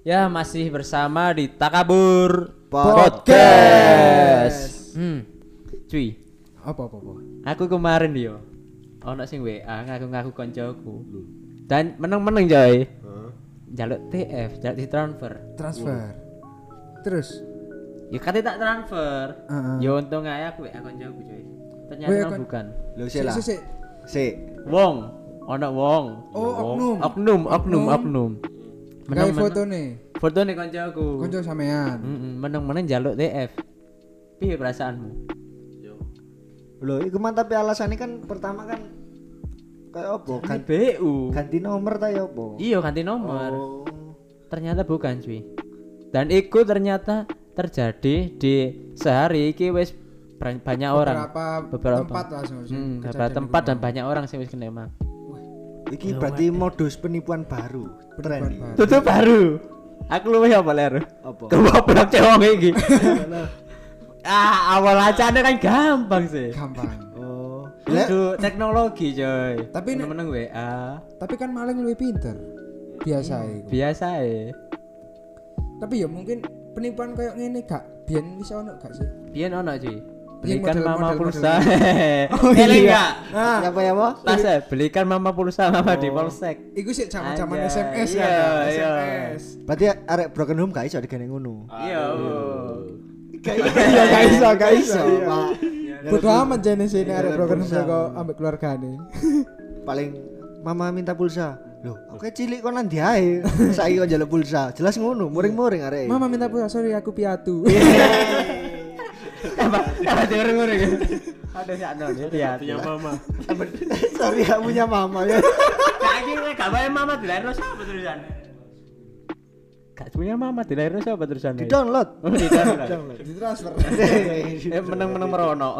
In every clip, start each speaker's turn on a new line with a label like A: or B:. A: Ya masih bersama di Takabur
B: Podcast.
A: Hmm, cuy,
B: Apa apa apa?
A: aku kemarin dia ono sing WA ngaku-ngaku koncoku. Dan meneng-meneng coy. Jaluk TF, jaluk di transfer.
B: Transfer. Terus
A: Ya katanya tak transfer.
B: Heeh.
A: Ya untung aja aku WA koncoku coy. Ternyata
B: WA
A: memang
B: Ah. kon-
A: bukan.
C: Lu sih lah.
B: Sik, sik, sik.
C: Sik.
A: Wong, ono wong.
B: Oh,
A: Wong.
B: oknum.
A: Oknum, oknum,
B: Oknum.
A: oknum.
B: kayak
A: Meneng-meneng-
B: foto nih.
A: Foto nih koncoku.
B: Konco sampean.
A: Mm-mm, meneng-meneng jaluk TF. Piye perasaanmu?
C: Loh, iku mah tapi alasannya kan pertama kan kayak opo?
A: Kan
C: Ganti,
A: BU.
C: ganti nomor ta ya opo?
A: Iya ganti nomor.
C: Oh.
A: Ternyata bukan cuy. Dan itu ternyata terjadi di sehari iki wis bran- banyak orang.
B: Beberapa tempat lah sing- sing
A: Hmm, beberapa
B: kejadian
A: tempat
B: iku
A: dan banyak orang sih wis kena emang.
C: Iki berarti modus penipuan baru. Tren.
B: Pendapat
C: iki.
B: baru.
A: Tutup baru. Aku luwih apa ler?
C: Apa?
A: Kebobrak cewek iki. ah, awal acane kan gampang sih.
B: Gampang.
C: Oh. Lah,
A: Aduh, teknologi coy.
B: Tapi nek-
A: meneng WA
B: Tapi kan maling lebih pinter. Biasa iku.
A: biasa eh.
B: Tapi ya mungkin penipuan kayak ngene gak biyen wis ono gak sih?
A: Biyen ono cuy.
B: Iya,
A: Belikan
B: model-
A: mama
B: model-
A: pulsa.
B: Oh,
A: Eling
B: iya.
A: gak?
C: siapa ya, Bo?
A: Mas eh, belikan mama pulsa mama di polsek.
B: Iku sih zaman-zaman
A: Anjay,
B: SMS
A: iya,
B: ya, kan?
A: iya.
B: SMS.
C: Berarti arek broken home gak iso digene ngono.
B: Ah,
A: Iya.
C: Gak
B: iya,
C: iso, gak iso, gak iso, Pak.
A: Iya,
B: Bodo amat jane sini
C: Iya,
B: ada program
C: pulsa.
B: kok ambek keluargane.
A: Iya.
C: Paling mama minta pulsa. Loh, aku kayak cilik kon nanti ae. Saiki kon njaluk pulsa. Jelas ngono, muring-muring arek.
B: Mama minta pulsa, sorry aku piatu.
A: Iya. Apa? Apa dengar-dengar gitu? Ada si Anon ya. Punya mama.
C: Sorry, gak punya mama ya.
A: Kaki gue gak punya mama dilahirno siapa terusan? Gak punya mama dilahirno siapa terusan?
C: Di download.
A: Oh, Tidak.
B: Di transfer.
A: Eh menang-menang merono.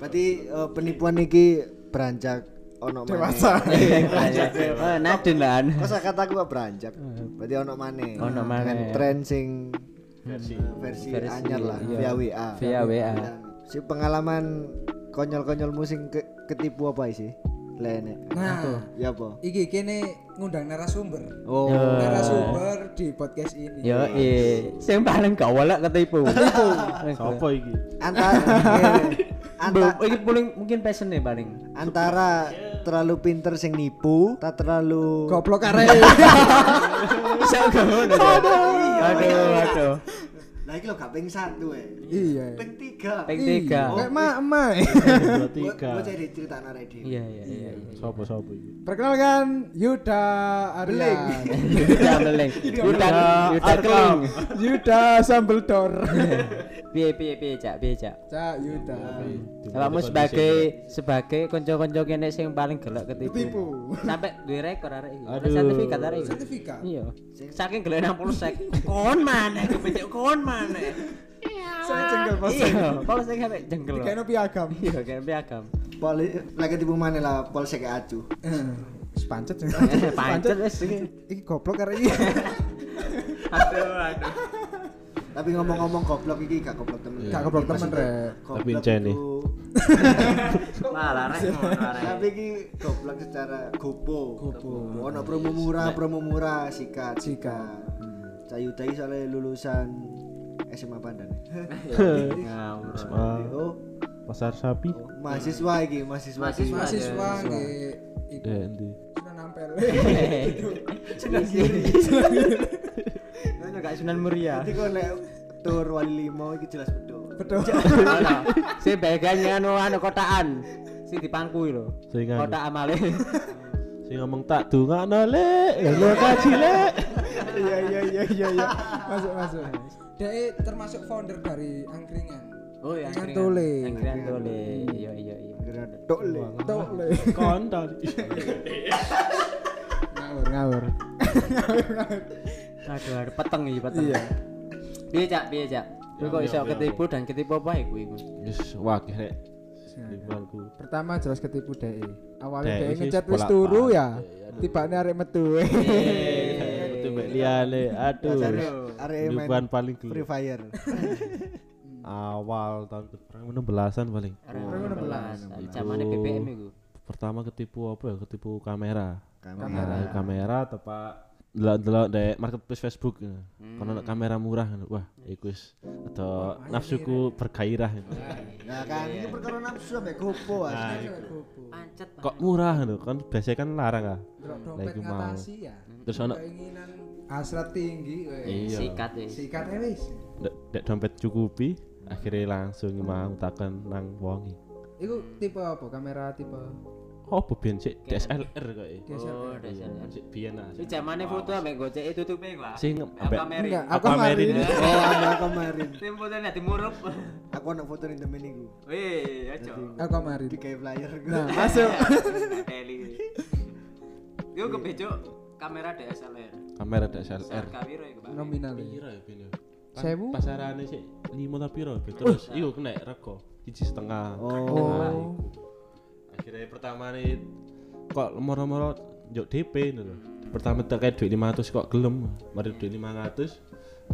C: Berarti eh, penipuan iki beranjak ono maneh.
B: Dewasa.
A: Eh, Nadin lah.
C: Kosa kataku apa beranjak? Berarti ono maneh.
A: Hmm. Ono maneh.
C: Dengan Tren sing versi versi
A: Versi,
C: anyar lah
A: iya.
C: via WA.
A: Via WA.
C: Si pengalaman konyol-konyolmu sing ke- ketipu apa sih? Lene.
B: Nah,
C: Ya apa?
B: iki kene ngundang
A: Eh.
B: narasumber.
C: Oh,
A: Ya.
B: Narasumber di podcast ini.
A: Yo, eh, sing paling gak walak ketipu. Ketipu.
D: Sopo iki?
C: antara
A: Belum, ini paling mungkin passion nih paling.
C: eh, antara terlalu pinter sing nipu, tak terlalu
B: Goblok kare.
A: Saya gak mau. Aduh, aduh, aduh.
C: Lah iki lho gak ping 1 eh.
B: Iya.
C: Ping 3.
A: Peng tiga.
B: Kayak mak-mak.
D: Dua tiga.
C: Gua jadi cerita nare di.
A: Iya iya iya.
D: Sopo sopo iki?
B: Perkenalkan Yuda Aryan.
A: Udah beling. Udah udah keling.
B: Yuda Sambeldor.
A: Piye piye piye cak piye cak.
B: Cak Yuda.
A: Awakmu sebagai sebagai kanca-kanca kene sing paling gelek ketipu.
B: Tipu.
A: Sampai duwe rekor arek iki. Ada
D: Aduh.
A: sertifikat arek iki.
B: Sertifikat.
A: Iya. Saking gelek 60 sek. Kon maneh kepecek kon maneh.
B: Saya jengkel pas.
A: Iya, polsek sampai jengkel.
B: Kayak piagam.
A: Iya, kayak piagam.
C: Poli lagi tipu mana lah polsek acu.
B: Eh, Sepancet.
A: Eh, Pancet wis.
B: Iki goblok kare iki.
A: Aduh aduh.
C: Tapi ngomong-ngomong goblok iki gak goblok temen.
B: Gak goblok temen,
C: Maksudnya,
B: Rek.
C: goblok
D: Tapi encen nih.
C: itu-
A: Malah rek ngono arek.
C: Tapi iki goblok secara gopo. Gopo. Ono promo murah, promo murah, sikat, Hmm. sikat. Cayu tai soalnya lulusan SMA Pandan.
A: Iya, Ngawur.
C: Oh,
D: Pasar sapi.
C: mahasiswa iki, mahasiswa.
A: Mahasiswa.
B: Mahasiswa nggih. Iku
D: Eh, endi?
B: sudah nampel.
A: Sunan Giri. Itu gak Sunan Muria.
C: Nanti kok nek tur wali limo iki jelas betul.
B: Betul.
A: Si baganya anu anu kotaan. Si dipangku lho.
D: Sing anu.
A: Kota amale.
D: Sing ngomong tak dungakno lek, ngono kaji lek.
B: Iya iya iya iya iya. Masuk masuk. Dia termasuk founder dari angkringan.
A: Oh ya.
B: Angkringan.
A: Angkringan tole. Iya iya iya.
C: Kira tok le.
B: Tuh le.
D: Kon tadi.
B: Ngawur ngawur.
A: Aduh, aduh peteng iki peteng.
B: Iya.
A: Piye Cak? Piye Cak? Lu
D: Ya,
A: kok iso ketipu dan ketipu apa ya, iku iku?
D: Wis wakeh rek. Liburanku.
B: Pertama jelas ketipu DE. Awalnya
D: DE
B: DE
D: sih
B: ngechat wis
D: bolak-balik. Iya,
B: turu ya. Tibane arek metu. e.
D: Metu mbek liyane. Aduh.
C: Arek main
D: Liburan paling
C: Free
D: gelap.
C: Fire.
D: Awal tahun ke- perang 16-an paling.
A: Orang 16. Zamane BBM iku.
D: Pertama ketipu apa ya? Ketipu kamera.
C: Kamera.
D: Kamera, kamera tepak delok-delok dek marketplace Facebook ya. Kono ana kamera murah ngono. wah iya, iku wis ada nafsuku bergairah ngono.
C: Nah kan ini perkara nafsu sampe gopo
D: Nah,
C: asli.
D: iku.
B: Gopo.
A: Pancet
D: kok murah ngono kan biasanya kan larang ah.
B: Delok
D: Lah
B: dompet
D: iku mau.
B: ngatasi ya.
D: Terus ana
B: Keinginan hasrat tinggi weh.
D: iya
A: sikat wis.
B: Sikat ae wis.
D: dek dek dompet cukupi akhirnya langsung mau takon nang wongi.
B: Iku tipe apa? Kamera tipe
D: Apa ben sik DSLR kok e.
A: Oh, dasarnya.
D: Sik biyen ah.
A: Itu zamane foto ambek gocek itu tuh pek, Pak.
D: Sing
A: Apa
D: ambek
A: Mary?
B: Enggak, aku
D: Apa
B: mari.
D: Mary?
C: Oh ada kemarin.
A: Tim fotonya dimurup.
C: Aku nak foto ning temen iku.
A: Wih, aja.
B: Aku mari.
C: Di kayak flyer
B: Nah,
C: gue.
B: masuk.
A: Teli. Yo kebecok kamera DSLR.
D: kamera DSLR.
A: Sarka Wiro ya, Pak.
B: Nominal. e.
D: Piro ya ben yo?
B: Sewu?
D: Pasarane sik 5 ta piro ben terus iku kena rego siji setengah.
B: Iya.
D: Nah, iku. Akhirnya pertama nih kok moro-moro njok DP ngono lho. Pertama tak kayak duit 500 kok gelem. Mari duit 500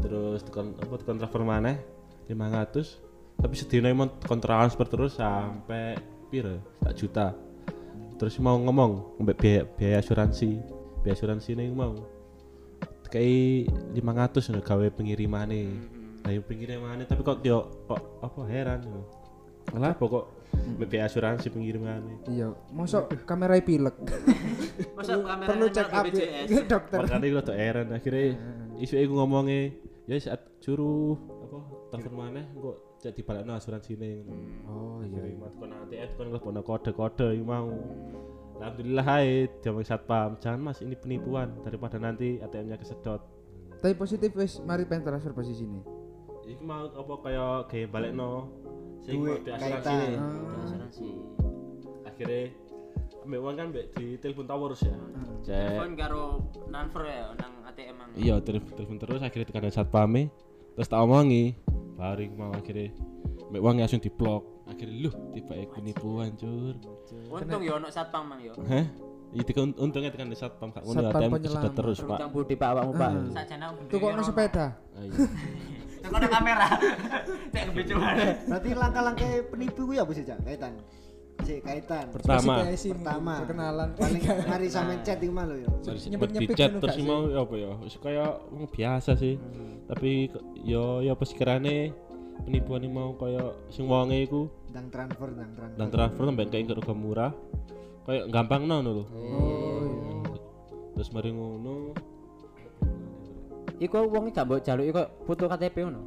D: terus tekan apa tekan transfer maneh 500 tapi sedina emang tekan transfer terus sampai piro? Tak juta. Terus mau ngomong mbek biaya, biaya asuransi. Biaya asuransi nih mau kayak 500 ngono gawe pengirimane. Lah yo pengirimane tapi kok yo kok apa heran ngono. Kenapa kok biaya asuransi pengirimane?
B: Iya, mosok kamera e pilek.
A: Masa kamera
B: Perlu
A: nang
B: cek up
A: BPJS?
B: ya, dokter.
D: Makanya gue tuh heran akhirnya
B: Hmm.
D: isu gue ngomongnya ya saat suruh apa telepon mana gue jadi balik asuransi ini
B: Oh iya. Hmm.
D: jadi mat kon ATM kon nggak kode kode yang mau alhamdulillah hai jamak satpam jangan mas ini penipuan daripada nanti ATM-nya kesedot
B: Tapi positif wis mari pen transfer posisi ini.
D: Iya. ini mau apa kayak kayak balik no
C: Duit,
D: asuransi
C: kaitan.
B: Ah.
D: ini
A: Asuransi.
D: akhirnya ambil uang kan mbak di telepon tower
B: Ah.
D: ya cek
A: Telepon karo nanver ya nang ATM mang.
D: iya telepon telepon terus akhirnya tekan satpame terus tak omongi baru mau akhirnya mbak wong langsung diblok akhirnya lu tiba aku penipuan cur
A: Untung yo ono satpam mang yo.
D: heh itu kan untungnya tekan di satpam kak ngono
B: Satpam
D: ATM
B: penyelam.
D: sudah terus pak
A: Utang budi Pak awakmu Pak. Sakjana aku
B: Tuh kok sepeda.
D: Ah, iya.
A: Tekono kamera. Cek kebecok.
C: Berarti langkah-langkah penipu gue apa sih cak? Kaitan. Si kaitan.
D: pertama
C: Pertama.
B: Pertama. Perkenalan.
C: Paling mari sampe chat iku ya. mah lo yo.
D: terus
B: nyepit-nyepit
D: di chat
B: ngono
D: terus
B: gak Hmm.
D: mau ya apa ya wis kaya wong biasa sih tapi kok- yo yo pas kirane penipuan ini mau kaya sing wonge iku
C: Dang transfer, dang transfer.
D: dan transfer sampai kayak harga murah kayak gampang no lho
B: Oh, iya.
D: terus mari ngono
A: Iku wong gak mbok jaluki kok foto KTP ngono.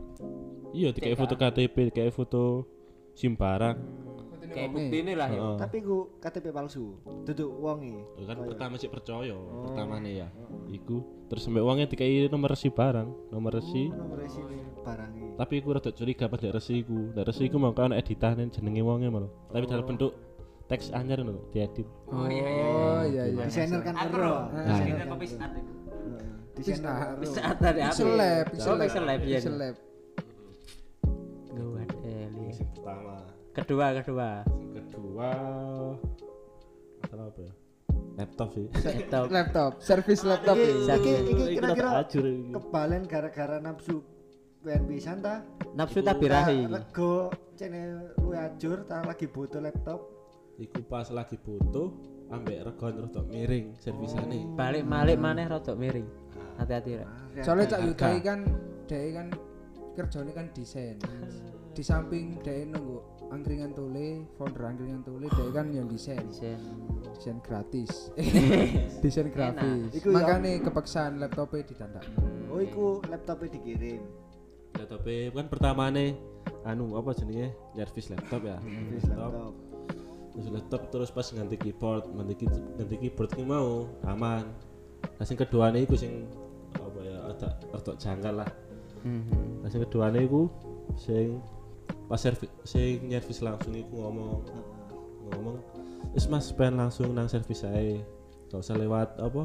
D: Iya, dikai foto KTP, dikai foto SIM barang.
A: Kayak buktine lah yo.
D: Heeh.
C: Tapi ku KTP palsu. Duduk e, wonge.
D: Oh, Kan pertama sih percaya, pertama nih ya. Iku terus sampai uangnya dikai nomor resi barang, nomor resi.
C: Nomor sini barange.
D: Tapi aku rada curiga pas dari resi iku. Dari resi iku mau kan editan jenenge wonge malah. Tapi dalam bentuk teks anyar lho, diedit.
B: Oh iya Oh iya iya.
C: Desainer kan
A: Aku
C: ero.
A: loh. Desainer kopi saat itu.
C: Heeh. Desainer kan ero.
A: Saat dari apa?
B: Seleb,
A: Oh,
B: seleb.
A: seleb ya.
B: Seleb.
A: Gawat Eli.
D: Pertama,
A: Kedua, kedua.
D: Yang kedua masalah apa ya? Laptop sih.
A: Laptop.
B: Laptop, servis laptop.
C: Iki iki
A: Desainer.
C: iki
D: Iku
C: kira-kira
D: rada ajur iki.
C: kebalen gara-gara nafsu wen pisan ta?
A: Nafsu tabirahi.
C: Tak
D: gitu.
C: Rego cene luwe ajur ta lagi butuh laptop.
D: Iku pas lagi butuh ambek regon terus tok miring servisane.
A: Balik malik maneh rodok miring. Hati-hati rek.
B: Soalnya Cak Yudai kan dia kan kerjanya kan desain. Di samping dia nunggu angkringan tule, founder angkringan tule, dia kan yang desain,
A: Desain.
B: desain gratis, desain grafis.
C: Iku ya.
B: Makanya kepaksaan laptopnya ditandak.
C: Oh iku laptopnya dikirim.
D: Laptopnya kan pertamane anu apa jenenge? Servis laptop ya.
C: Wis laptop.
D: terus laptop terus pas ganti keyboard ganti, key- ganti keyboard ki mau aman nah sing kedua iku sing apa ya ada ada jangkar lah nah sing kedua iku sing pas servis sing servis langsung iku ngomong ngomong wis mas pengen langsung nang servis saya gak usah lewat apa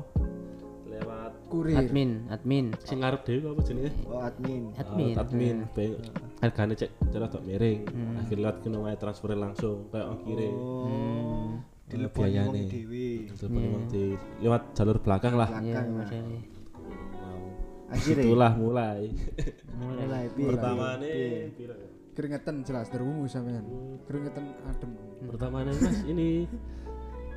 D: lewat
B: Kurir.
A: Admin, admin.
D: sing ngarep dhewe apa jenenge
C: Oh admin.
A: Admin.
D: Oh, admin Ben- harganya cek cara tok miring akhirnya lewat kena wae transfer langsung kayak ongkire
C: Oh. Dileboni
D: biayane.
C: wong dhewe.
D: telepon emang di lewat jalur belakang lah
A: Ya,
C: Belakang eh. lah.
A: model ini.
D: mau
C: Akhirnya
D: itulah mulai Hmm. ya?
A: Mulai.
C: mulai piye?
D: pertama
C: Iya.
D: nih
B: Keringetan jelas terungu sampean. Keringetan adem.
D: pertama nih mas ini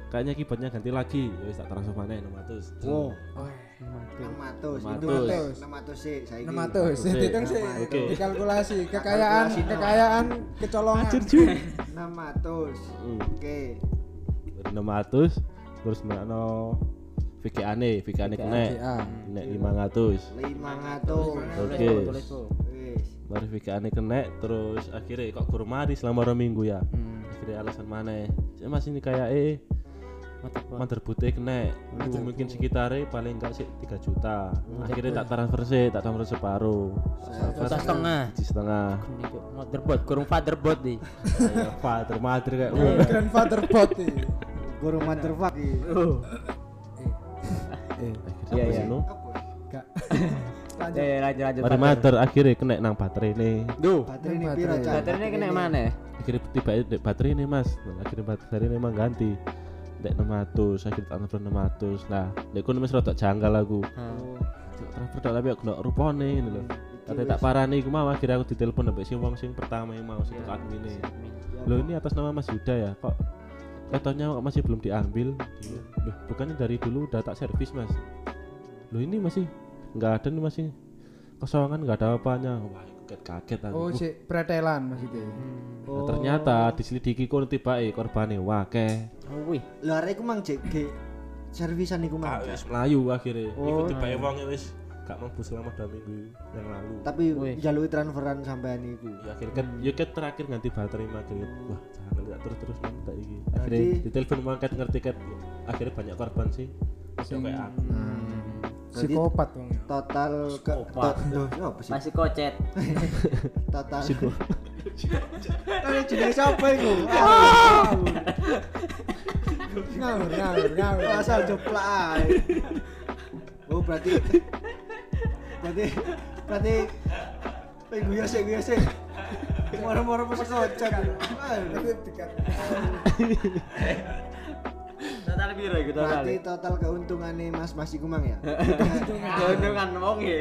D: kayaknya keyboardnya ganti lagi ya wis tak transfer maneh 600
C: Wow,
B: Oh,
C: 600, 600,
B: 600.
C: 600 sih, saya
B: 600
D: Oke.
B: dihitung sih
D: Oke.
B: dikalkulasi kekayaan
C: Kalkulasi.
B: kekayaan kecolongan
D: Hmm.
C: Oke,
D: Dari 600 terus merakno VGA-ne, VGA-ne konek.
B: VGA.
D: Nek 500.
C: 500.
A: Tulis,
D: Oke.
A: Bu, tulis, Bu.
C: Wis.
D: Baru VGA-ne kena terus akhirnya kok guru mari selama orang minggu ya. Akhirnya alasan mana? Saya masih ini kayak eh mother boot-nya kena. Itu mungkin sekitarnya paling enggak sih 3 juta. Akhirnya tak transfer sih, tak transfer separuh.
A: Juta setengah.
D: Siji setengah.
A: Ini, Bu, Motherboard, kurung fatherboard nih.
D: Kayak Father mother kayak.
B: grandfather bot ini.
C: Guru motherfuck.
B: eh
A: Iya,
D: Iya
A: iya.
D: iya.
C: Apa?
B: gak
A: Eh, lanjut lanjut.
D: Mari
A: father.
D: mother akhirnya kena nang baterai nih.
A: Duh,
C: Baterai ini piro, Cak?
A: baterainya kena mana?
D: akhirnya tiba dek baterai ini mas Nah, akhirnya baterai ini emang ganti dek 600 akhirnya transfer 600 nah dek kono wis rada janggal aku
A: Hmm.
D: Cuk, transfer tok tapi aku ndak rupane ngono lho tapi tak parani iku mau akhirnya aku ditelepon ambek sing wong sing pertama yang mau sing tekan ngene lho ini atas nama Mas Yuda ya kok katanya kok masih belum diambil Loh, bukannya dari dulu udah tak servis mas Loh ini masih nggak ada nih masih kosongan nggak ada apanya wah aku kaget kaget aku
B: oh
D: Wah,
B: si pretelan maksudnya
C: oh.
D: Nah, ternyata diselidiki kono tibake korbane wake.
A: Oh, Wih,
C: Lho arek iku mang JG. Servisan iku mang. Cak.
D: Ah, Wis melayu akhirnya.
C: Oh.
D: Iku tibake wong ya wis gak mampu selama 2 minggu yang lalu.
C: Tapi
A: Wih.
C: jalui transferan sampean iku.
D: Ya akhirnya kan ya kan terakhir ganti baterai maghrib. Wah, jangan gak terus-terus nang tak iki. Akhirnya
C: Berarti-
D: ditelepon mangkat ngerti ket akhirnya banyak korban sih. Sing kayak aku.
B: Hmm. psikopat wong
C: Total ke
A: Psikopat.
C: to- Loh, ya apa sih?
A: masih kocet.
C: Total. Tapi jenenge sapa iku? Ah,
B: ngawur ngawur ngawur
C: Ah. Asal jeplak ae. Oh, berarti berarti berarti Minggu ya sih, minggu ya sih. Moro-moro pas kocak. Aduh.
A: Total biru gitu total.
C: Berarti total keuntungannya Mas Mas iku mang ya.
A: Keuntungan wong ya.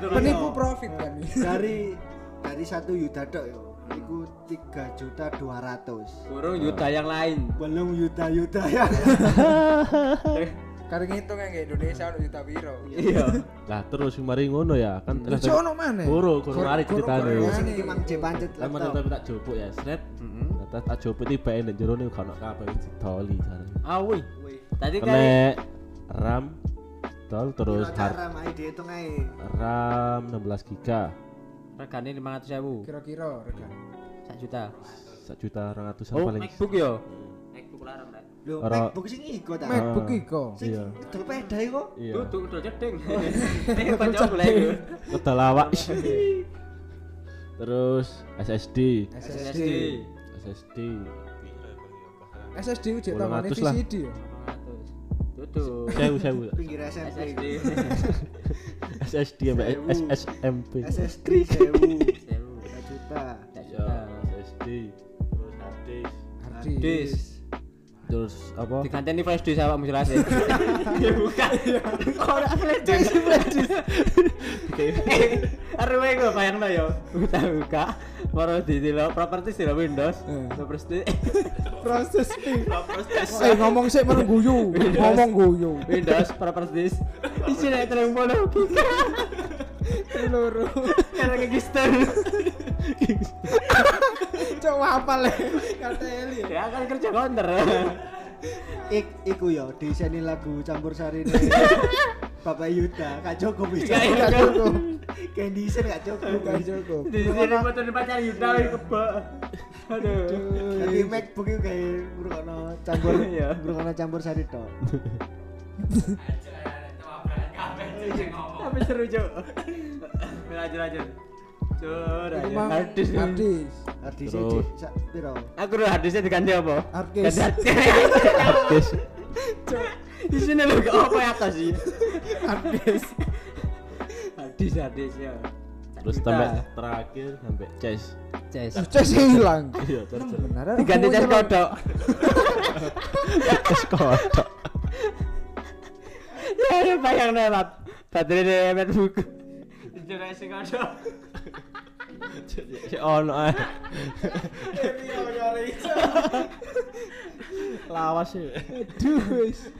B: penipu profit kan
C: dari dari satu yuta tok yo iku tiga juta dua ratus
A: Kurung juta yang lain.
C: belum yuta yuta ya
B: karena ngitung yang Indonesia udah juta biro
A: Iya.
D: Lah terus mari ngono ya kan. Lah,
B: Cok ono mana?
D: Guru, guru mari
B: Guru-
D: ceritane.
B: guru-
C: sing iki mang J pancet
D: Lama
C: laptop
D: tapi tak jopuk ya, sret. Ternyata tak jopuk tibake ndek jero nih gak ono kabeh wis ditoli jarane.
A: Ah, wih.
C: Wih,
A: Tadi kan
D: Kene RAM tol terus
C: kira
D: hard
C: cara main dihitung ae
D: RAM 16 giga
A: regane 500.000,
B: kira-kira rekan
A: 1 juta.
D: 1 juta 200
A: Oh,
D: paling
A: MacBook yo. MacBook larang, Rek.
C: lho
D: Ora-
C: MacBook sing iku
D: Ah.
C: ta
B: MacBook iko
C: sing
D: iya.
C: dopeda iku
D: iya
A: Duduk udah jeding. Eh, pancok golek yo.
D: kedal awak terus SSD
A: SSD.
D: SSD
B: SSD uji tambahane
D: 800 lah.
B: VCD ya
A: 500. Duduk.
D: sewu sewu
C: pinggir SMP
A: SSD.
D: SSD sampai SSMP
C: SSD sewu
A: 1000.
C: Tiga juta
D: ya
A: Iya.
D: SSD terus hard disk
B: Hardi
A: Dis.
D: terus apa
A: Diganteni flash disk awakmu jelas. Ya bukan. Kok ora flash disk, flash disk. Eh, Arwe gue bayang yo. Buka buka. Baru di di lo properties di lo Eh, Windows. Properties.
B: proses
A: Properties.
B: eh ngomong sih mereng guyu ngomong guyu
A: Windows properties. Isi nek terang bola kita.
B: loro
A: Karena register.
B: coba apa le ya. kata Eli
A: Ya kan kerja counter.
C: Ik, iku yo diseni lagu campur sari Bapak Yuta, Kak Joko
A: Gak
C: bisa.
A: ya
B: gak cukup
C: Kayak desain Kak Joko.
B: gak cukup
A: Di sini foto di pacar Yuda kebak. Aduh.
C: Tapi MacBook itu kayak ngrungokno campur
A: Iya.
C: ngrungokno campur sari tok.
A: Tapi seru jo. Lanjut lanjut. Cur,
B: Iku
A: ayo.
B: mang
A: Hadis.
B: Hardis
C: Arti
D: Terus.
C: siji sak piro?
A: Aku udah hadisnya diganti apa?
B: Hardis
D: hard disk
A: di sini lo gak apa ya atas sih hadis hadis hadis ya
D: terus sampai terakhir sampai chest
A: ces
B: Ces hilang
D: iya terus
B: benar
A: ganti ces kodok
D: chest kodok
A: ya ya bayang nih mat baterai deh mat buku itu nasi kodok
D: Si ono ae. Lawas sih.
B: Aduh, wis.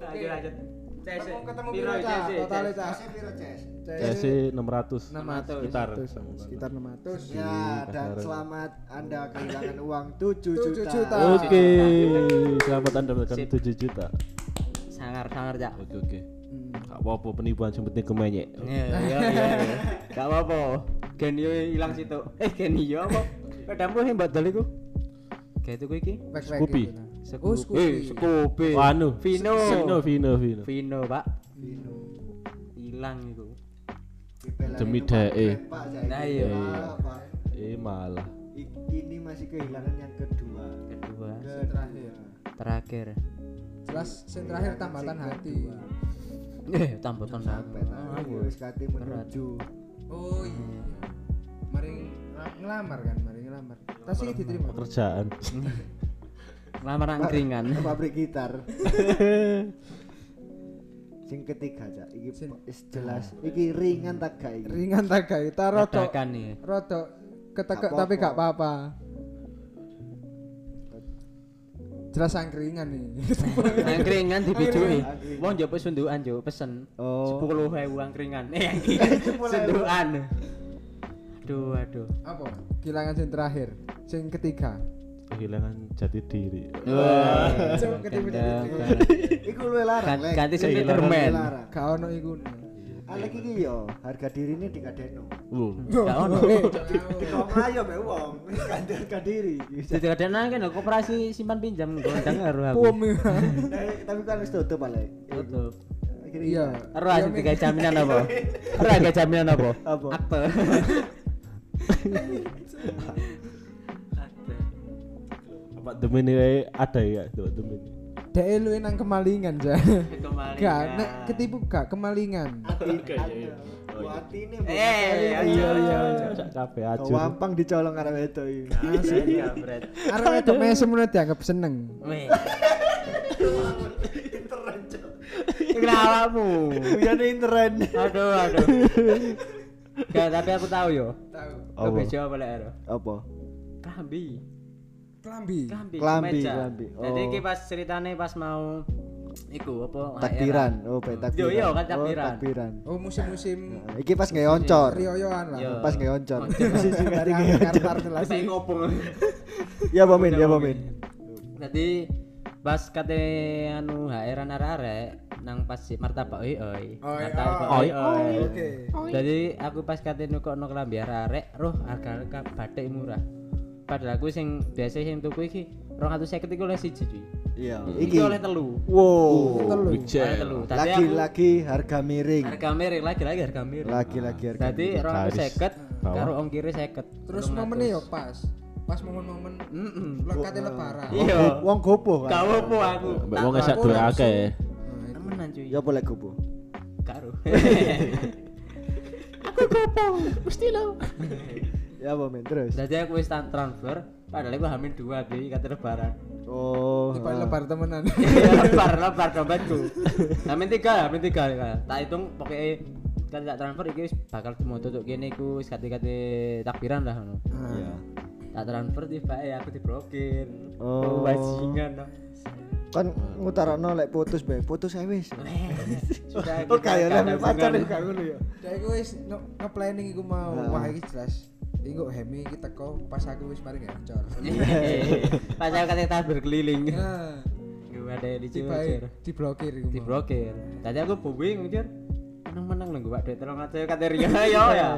A: Lanjut lanjut. CS.
C: Ketemu- ketemu
A: Piro,
C: Piro, Cak?
A: CS,
B: Totalnya,
A: CS.
B: Cak.
C: Kasih piro, Ces?
D: CS 600
B: 600.
D: sekitar.
B: Sekitar 600.
C: Ya,
D: Kasih,
C: dan
D: kasih.
C: selamat Anda kehilangan uang 7
B: 7
C: juta.
B: juta.
D: Oke, selamat Anda mendapatkan
A: Sip.
D: 7 juta.
A: Sangar sangar Cak.
D: Oke oke. Gak apa-apa penipuan yang penting kemenyek.
A: Iya, iya, iya. Gak apa-apa. Genio hilang situ. Eh, genio apa? Pedamku sing mbak dal iku. Kayak itu kuwi iki.
B: Back-back
D: Scoopy.
B: gitu.
A: Scoopy.
B: Oh, Scoopy.
A: Eh, Scoopy.
D: Wanu.
A: Vino.
D: anu. Vino Vino Vino.
A: Vino, Pak.
C: Vino.
A: Hilang itu.
C: Dibelain
D: Demi
C: numpak
D: dae.
C: grab, Pak, Cak.
A: Nah, iya.
C: Ah, Pak.
D: Eh malah.
C: I- Ini masih kehilangan yang kedua.
A: Kedua,
C: Terakhir.
A: terakhir.
B: Jelas yang terakhir tambatan hati.
A: Eh, tambutan
C: Sampai tadi wis kate menuju.
B: Oh iya. Mari ng- ngelamar kan, mari ngelamar. Tapi diterima.
D: Pekerjaan.
A: Lamar angkringan.
C: Pabrik gitar. Sing ketiga, Cak. Iki
B: Sing-
C: pa- is jelas. Iki ringan tak gak iki.
B: Ringan tak gawe, ta rodo
A: Ledakan nih.
B: rodo ketekek
C: Gak
B: tapi
C: apa-apa.
B: gak apa-apa. Jelas angkringan nih.
A: Angkringan dibijuki.
C: Angkringan.
A: Wong njupuk sundukan, Juk, pesen.
C: Oh.
A: 10.000 angkringan. Eh,
C: Sepuluh ewu.
A: sundukan. Aduh, aduh.
B: Apa? Kehilangan yang terakhir, yang ketiga.
D: Kehilangan jati diri.
A: Wah,
B: Cuk, ketemu
A: ganda,
B: jadi-
A: ganda.
C: Iku luwe larang.
A: Gan-
C: Lek.
A: ganti
C: Iku luwe
A: Spiderman.
C: larang.
B: Gak ono iku.
C: Alek iki yo, harga dirine digadeno.
D: Uh.
A: Gak ono.
B: Eh,
C: Dikong ayo mek wong, gak harga diri.
A: Jadi ada nang kan koperasi simpan pinjam gondang karo aku.
B: Pum.
C: Eh, Tapi kan wis tutup Alek.
A: Tutup.
C: Akhirnya
B: Iya.
A: Ero asik tiga jaminan apa? Ero agak jaminan apa?
C: Apa?
A: Akte. Akte.
D: Apa demen ini ada ya? Coba demen.
B: Dek lu nang kemalingan ja.
A: Kemalingan.
B: Gak, nek ketipu gak kemalingan.
C: Ati,
D: Oke, iya, iya.
C: ati. Watine
A: Eh,
C: iya.
A: iya iya.
D: Cak kafe aja.
C: Gawampang dicolong arah wedok iki.
A: Asli kabret.
B: Arep wedok mesem ngono dianggap seneng.
A: Weh. Kenalamu.
C: Kuyane intern.
A: Aduh, aduh. Gak, tapi aku tahu yo.
B: Tahu.
A: Lo
D: Apa?
A: bejo apa lek ero?
C: Apa?
A: Klambi.
B: Klambi.
A: Klambi,
C: Klambi,
A: kemeja.
C: klambi.
A: Jadi
C: Oh.
A: iki pas ceritane pas mau iku apa
C: Takbiran.
A: HR-an.
C: Oh, pe
A: Yo
C: takbiran.
A: yo kan
C: Oh,
A: takbiran.
C: takbiran.
B: Oh musim-musim
C: Nah, Iki pas nggak oncor.
B: Rioyoan lah.
A: Yo.
C: Pas nggak oncor.
A: Oncor.
C: Sisi kali nggak oncor.
B: Karena jelas.
A: Saya ngopong.
C: Ya Bomin, ya Bomin.
A: Jadi pas kate anu HR an arek nang pas si martabak oi oi.
B: Oi,
A: Martabak
D: oi.
A: oi oi.
B: Oke.
A: Jadi aku pas kate nukokno klambi arek, roh harga ka- batik murah. Padahal aku sing biasa sing tuku iki 250 iku oleh siji cuy.
C: Iya.
A: Iki
C: Iki.
A: oleh telu.
C: Wow.
B: Telu.
A: Oleh telu. Tadi aku
C: Lagi-lagi harga miring.
A: harga miring lagi-lagi harga miring.
C: Lagi-lagi harga.
A: Dadi
D: miring.
A: 250
D: Bawah.
A: karo ongkire 50.
B: Terus momennya yo pas. Pas momen-momen
A: Heeh.
B: lekatnya lebaran.
A: Iya.
C: Wong- Wong gopo
A: Gak
C: kan.
A: apa aku.
D: Mbak wong esak
B: aku
D: duwe
B: langsung.
D: akeh.
B: Nah, itu.
A: Temenan cuy.
C: Ya boleh gopo.
A: Karo.
C: Ya Bomin terus.
A: Jadi aku wis tan- transfer, padahal aku hamil dua di kata lebaran.
C: Oh.
B: Tiba lebar temenan.
A: lebar lebar dompetku. Hamil tiga, hamil tiga. ya. Tak hitung pokoknya kan tak transfer iki wis bakal mau tutup gini aku wis kate-kate takbiran lah ngono.
C: Iya.
A: Tak transfer tiba eh aku diblokir.
C: Oh.
A: bajingan. no.
C: Kan ngutarno lek putus bae. Putus ae wis.
A: Sudah
C: Oh kaya
A: kita-
C: lek
A: kita-
C: pacar iku gak ngono ya.
B: Dek iku wis no- nge-planning iku mau. Wah iki jelas. Iku Hemi iki teko pas aku wis mari ngancor.
A: Pas aku kata tas berkeliling.
B: Nah,
A: Gue ada di
B: tiba diblokir iku. mau.
A: diblokir. Tadi aku bubing jujur. Menang-menang lho gue duit tolong aja kata Rio ya
C: Iya,
A: ya.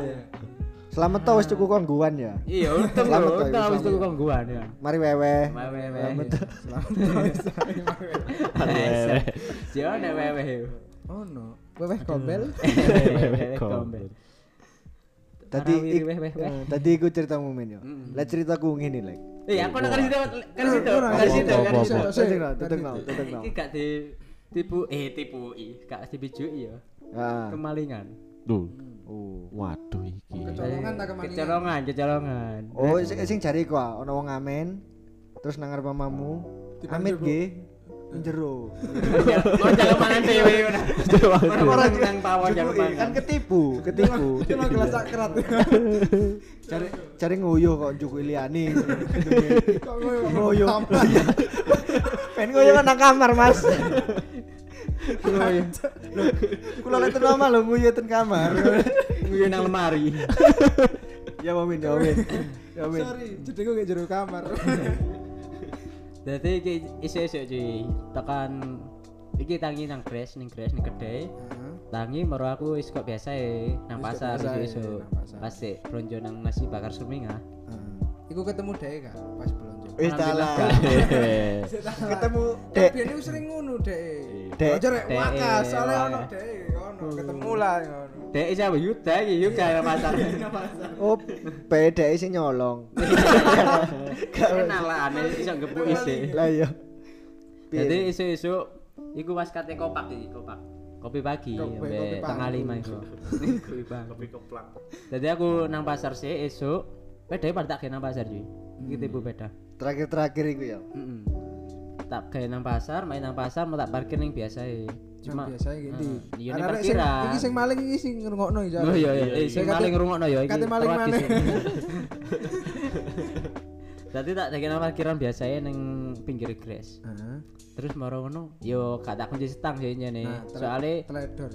C: Selamat tau wis cukup kongguan ya.
A: Iya untung
C: Selamat,
A: lho, untung
C: Pak.
A: habis tuku kongguan ya.
C: Mari wewe.
A: Wewe wewe.
D: Wewe.
A: Jangan wewe.
B: Oh no. Weweh gombel.
A: Wewe
D: Gombel.
A: gombel.
C: Tadi
A: Arawiri,
C: ik-
A: weh, weh, weh.
C: eh, tadi iku ceritamu men yo. Lek ceritaku ngene lek.
A: Eh aku nak kari situ, kari situ,
B: Ora,
A: kari
B: ora,
A: situ,
D: apa,
A: kari
D: apa,
A: situ.
D: apa.
C: Teteng no, teteng no, teteng no.
A: Iki gak di tipu eh tipu i, gak dibijui ya.
C: Ah.
A: Kemalingan.
D: Duh.
C: Oh.
D: Waduh iki.
B: Kecolongan tak kemalingan.
A: Kecolongan, kecolongan.
C: Oh, sing sing jari ku ah, ono wong amen. Terus nang ngarep mamamu. Amit nggih. Njero.
A: Oh jalan mana dewe ngono. Ora nang pawon jalan
B: iya,
C: Kan
A: mana.
C: ketipu, ketipu.
B: Cuma gelas sakrat.
C: cari cari nguyuh kok njuk Iliani nguyuh pengen nguyuh kan nang kamar mas
A: iya.
C: nguyuh kula lihat nama lo nguyuh ten kamar
A: Nguyu Iya, nang lemari.
C: ya wamin ya wamin ya wamin
B: Sorry, jadi gue kayak jero kamar. Nah,
A: Dadi iki isih-isih cuy. Tekan iki tangi nang Grace, ning Grace ning kedai.
B: Heeh.
A: Tangi moro aku wis kok biasa e nang
B: Wis kok
A: pasar
B: biasa e,
A: isu-isu.
B: nang pasar.
A: Pas sik blonjo nang nasi bakar ah. sumingah.
B: Heeh. Iku ketemu Dek kan pas belanja.
C: wis
A: Alhamdulillah.
C: dalah ketemu dek
B: Tapi ini sering ngono Dek.
C: Dek. Hmm.
B: Aja rek
A: Dek,
B: wakas, soalnya
A: wae.
B: ono Dek, ono ketemu lah ngono.
A: Dek siapa Yuda iki Yuda nang pasar.
C: oh pede sing nyolong
A: Kenalane iso gebuk isih.
C: lah iya
A: Jadi isu-isu iku pas kate kopak iki, kopak. Kopi pagi,
B: Kopi- kopi
A: sampai
B: pagi.
A: tengah lima itu. Kopi pagi.
D: Kopi keplak.
A: Jadi aku nang pasar sih esok. Beda ya tak kayak nang pasar cuy.
B: Hmm.
A: Kita ibu beda.
C: terakhir-terakhir iku ya
A: Mm-mm. Tak kayak nang pasar, main nang pasar, mau tak parkir yang biasa ya. Cuma
B: Cuma biasa gitu.
A: Hmm, iya, ini
B: Arek-arek sing-
A: parkiran.
B: Iki sing maling iki sing ngrungokno iki.
A: Oh iya iya, eh,
D: Iya,
A: sing
B: iya.
A: maling rungokno ya iki.
B: Kate maling
A: terawat
B: maling.
A: dhisik. Dadi tak kayak nang parkiran biasa ya neng pinggir grass.
B: Heeh.
A: Terus moro ngono, yo gak tak kunci setang sih nih.
B: Nah, ter-
A: Soalnya
B: teledor.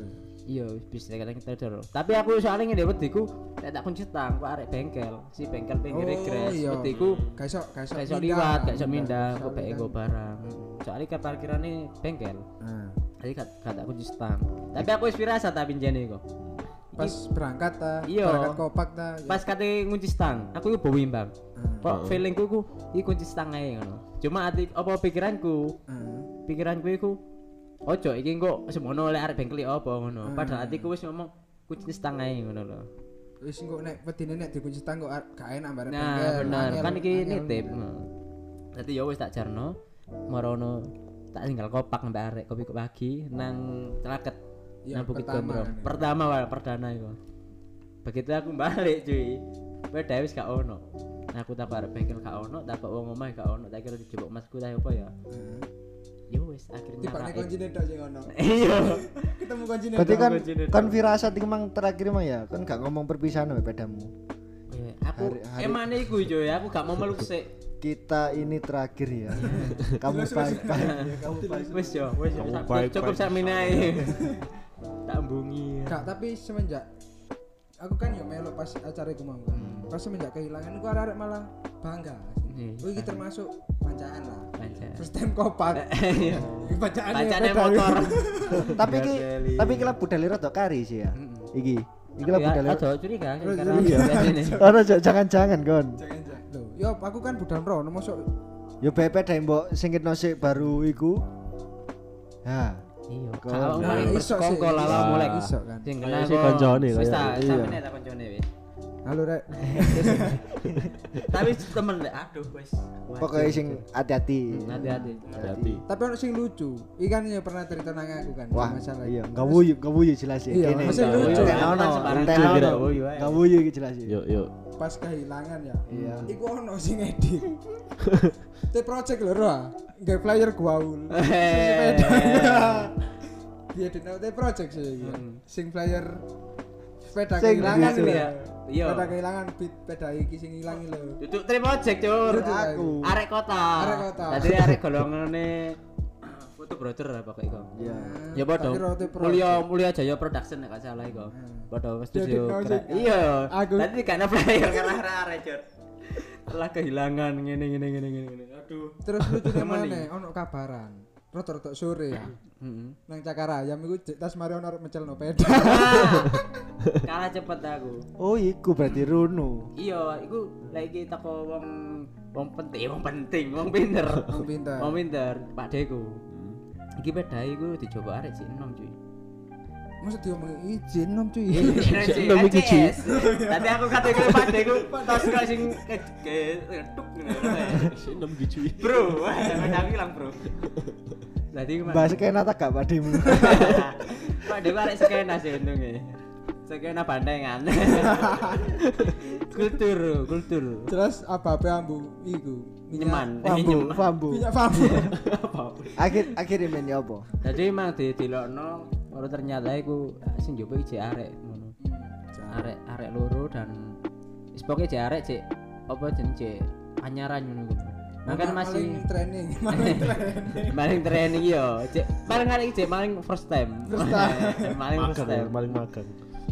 A: Iya, bisa kadang kita doro. Tapi aku soalnya ngene wediku nek tak kunci tang kok arek bengkel, si bengkel pinggir
B: Oh,
A: gres.
B: iya.
A: Wediku
B: Gak iso gak iso
A: gak iso
B: mindah,
A: liwat, gak iso
B: mindah,
A: mindah, kok
B: gak iso
A: bae
B: mindah.
A: nggo barang. Soalnya ke parkirane bengkel.
B: Nah,
A: Jadi gak gak tak kunci tang. Tapi aku wis pirasa tak pinjani kok.
B: pas berangkat ta,
A: Iya.
B: berangkat kopak ta.
A: Pas kate kunci tang, aku yo bawa imbang.
B: Heeh.
A: Kok feelingku ku iki kunci tang ae ngono. Cuma ati apa pikiranku,
B: Heeh.
A: pikiranku iku ojo iki kok semono oleh arek bengkel apa ngono.
B: Hmm.
A: Padahal atiku wis ngomong kunci tang ae ngono lho.
B: Wis engko nek wedine nek dikunci tang kok ar- gak enak bareng
A: Nah, benar. Kan iki nitip. Dadi ya wis tak jarno. Marono tak tinggal kopak mbak arek kopi kok pagi nang celaket.
B: Ya,
A: nang Bukit
B: pertama
A: Gondrong.
B: ini.
A: Pertama wal perdana iku. Begitu aku balik cuy. Beda wis gak ono. Aku tak arek bengkel gak ono, tak wong omah gak ono, tak kira dijebok masku ta apa ya. Ya wis akhirnya
B: Tiba nek
A: raib.
B: kuncine tok sing ono.
A: Iya.
B: Ketemu kuncine
C: berarti
B: tok.
C: kan
A: Aku jadi-
C: kan firasat iku mang terakhir mang ya kan gak ngomong perpisahan sampe pedamu
A: Iya, Aku
C: Hari- hari-
A: emane iku cuy, aku gak mau meluk sik.
C: kita ini terakhir ya kamu baik-baik
A: Wis yo, wis yo.
D: Kamu
A: Sak-
D: baik-baik
A: Cukup sak minae. Tak embungi.
B: Gak, tapi semenjak aku kan yo melu pas acara iku mau kan.
C: Hmm.
B: Pas semenjak kehilangan iku arek malah bangga.
A: Iya.
B: Oh iki termasuk pancaan lah.
C: Iya.
A: Pancaan.
B: First time kopak.
C: Eh,
A: Iya.
B: Iki pancaan ya,
A: Bacane motor.
C: tapi ki
A: Berkeli.
C: tapi ki lah budal ira tok kari sih ya
B: Hmm.
C: iki iki lah budal
A: Aja Iya, curiga kan, karena
C: iya.
A: biasanya.
C: ora jok, jangan-jangan kon
B: Lho, yo aku kan budal rono mosok
C: yo bepe dai mbok singkitno sik baru iku ha
A: Iya.
C: Kon.
A: Kalau
B: Nah,
A: paling
B: iso sih,
A: bersekongkol
B: iso.
A: lah mulai
B: Iso kan.
A: Sing
D: Kayak
A: kenal
D: si
A: kok.
D: koncone,
A: Wis
D: kayak.
A: tak
C: Iya.
A: sampeyan tak koncone wis.
B: halo rek.
A: Tapi temen lek aduh wis. Wajib.
C: pokoknya sing hati-hati
A: Hmm, hati-hati.
D: Hati-hati.
B: tapi ono sing lucu. Ikan yo pernah cerita nang aku kan
C: wah
B: masalah.
C: iya
B: itu.
C: enggak wuyu enggak wuyu jelas ya
B: Iya, masih lucu. Kan
C: ono
A: Sembarang
C: entekno
D: kira
C: ono.
D: wuyu ae.
C: enggak wuyu iki jelas ya
D: Yuk yuk.
B: pas kehilangan ya
C: Iya.
B: iku ono sing edit te project lho roh nggak flyer gaul
A: Eh.
B: dia edit te project sih iki sing flyer sepeda
C: Sing
B: kehilangan
C: gitu
B: lho
A: ya. Hmm. Iya.
B: sepeda kehilangan beat sepeda iki sing ilang lho
A: Duduk terima ojek, Cur.
B: Duduk aku.
A: Arek kota.
B: Arek kota.
A: Dadi arek golongane foto brother lah pokoknya kok.
B: Hmm.
C: iya
A: Ya padha.
B: Tak kira te project.
A: Mulia Mulia Jaya Production nek gak salah iku. Padha studio.
B: Hmm. Jadi
A: gra-
B: project.
A: Iya.
B: Aku-
A: Tadi karena player karena arek Jor. Telah kehilangan ngene ngene ngene ngene. ngene. Aduh.
B: terus lucu mana ono kabaran rotor-rotor sore ya
A: Heeh.
B: nang Cakarayam iku jek tas mari ono arep mecelno peda
A: Ah. Kalah cepet aku.
C: oh iku berarti runo
A: Iya, iku lagi teko wong wong penting, wong penting, wong pinter.
B: Wong pinter. Hmm.
A: Wong pinter, Pak Deku. Iki beda iku dicoba arek sih enom cuy.
B: maksud diomongi izin nom cuy
A: Nom iki cuy. Tadi aku kata iku Pak Deku, tas kok sing ke ke tuk ngene.
D: Si enam gitu.
A: bro wah aku hilang bro jadi
C: bahas kena tak gak padimu
B: Iya.
A: pak dewa arek skena sih untungnya skena bandengan kultur kultur
B: jelas apa apa ambu iku
A: nyeman
C: pambu
A: nyeman
C: pambu
B: minyak pambu
A: apa
C: akhir akhirnya men ya apa
A: jadi emang di dilokno baru eh, ternyata aku sing njoba ije arek ngono arek arek loro dan Wis pokoke jek arek jek apa jeneng jek anyaran ngono kuwi. Makan masih
B: Paling training paling training
A: maling training yo. Jek paling arek jek maling first time. Eh,
B: First time.
A: maling first
D: makan
A: time.
D: paling makan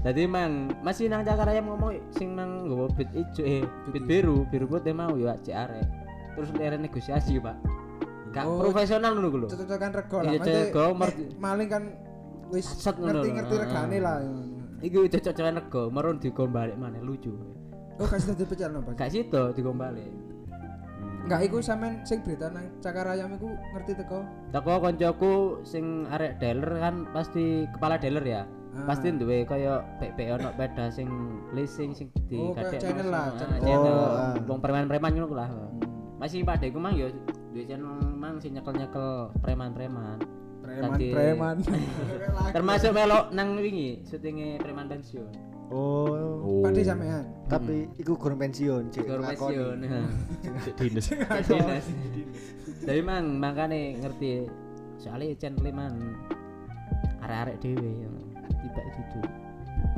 A: Jadi mang masih nang cakar ayam ngomong sing nang nggowo bit ijo eh bit biru, biru putih mau ya jek arek. Terus leren negosiasi, Pak. Gak
B: Oh,
A: profesional ngono kuwi lho.
B: cocok-cocokan rego lah
A: Iya,
B: Maksudnya,
A: cocok,
B: nek
A: mer-
B: maling kan wis
A: Sat ngono
B: ngerti-ngerti
A: lho.
B: regane lah
A: Iku cocok-cocokan rego, merun digombalik maneh lucu.
B: oh kasih tadi pecel no Bas
A: Gak sida digombalik.
B: enggak iku sampean sing berita nang cakar ayam iku ngerti teko
A: Teko koncoku sing arek dealer kan pasti kepala dealer ya.
B: Ah.
A: Pasti duwe kaya PP ono peda sing leasing sing di
B: Oh, kayak channel lah, channel. Hmm.
A: channel.
C: Oh, ah.
A: Wong preman-preman ngono ku lah. Masih padhe ku mang ya duwe channel mang sing nyekel-nyekel preman-preman. Tadi-
B: preman-preman
A: Termasuk melok nang wingi syutinge preman pensiun.
C: oh
D: oh
B: Padi sampean
C: tapi iku gurung pensiun cek
A: Gor pensiun.
D: Cek dinas
A: Kayak dinas. Jadi mang makane ngerti soalnya channel mang arek-arek dhewe ya. Tiba dudu.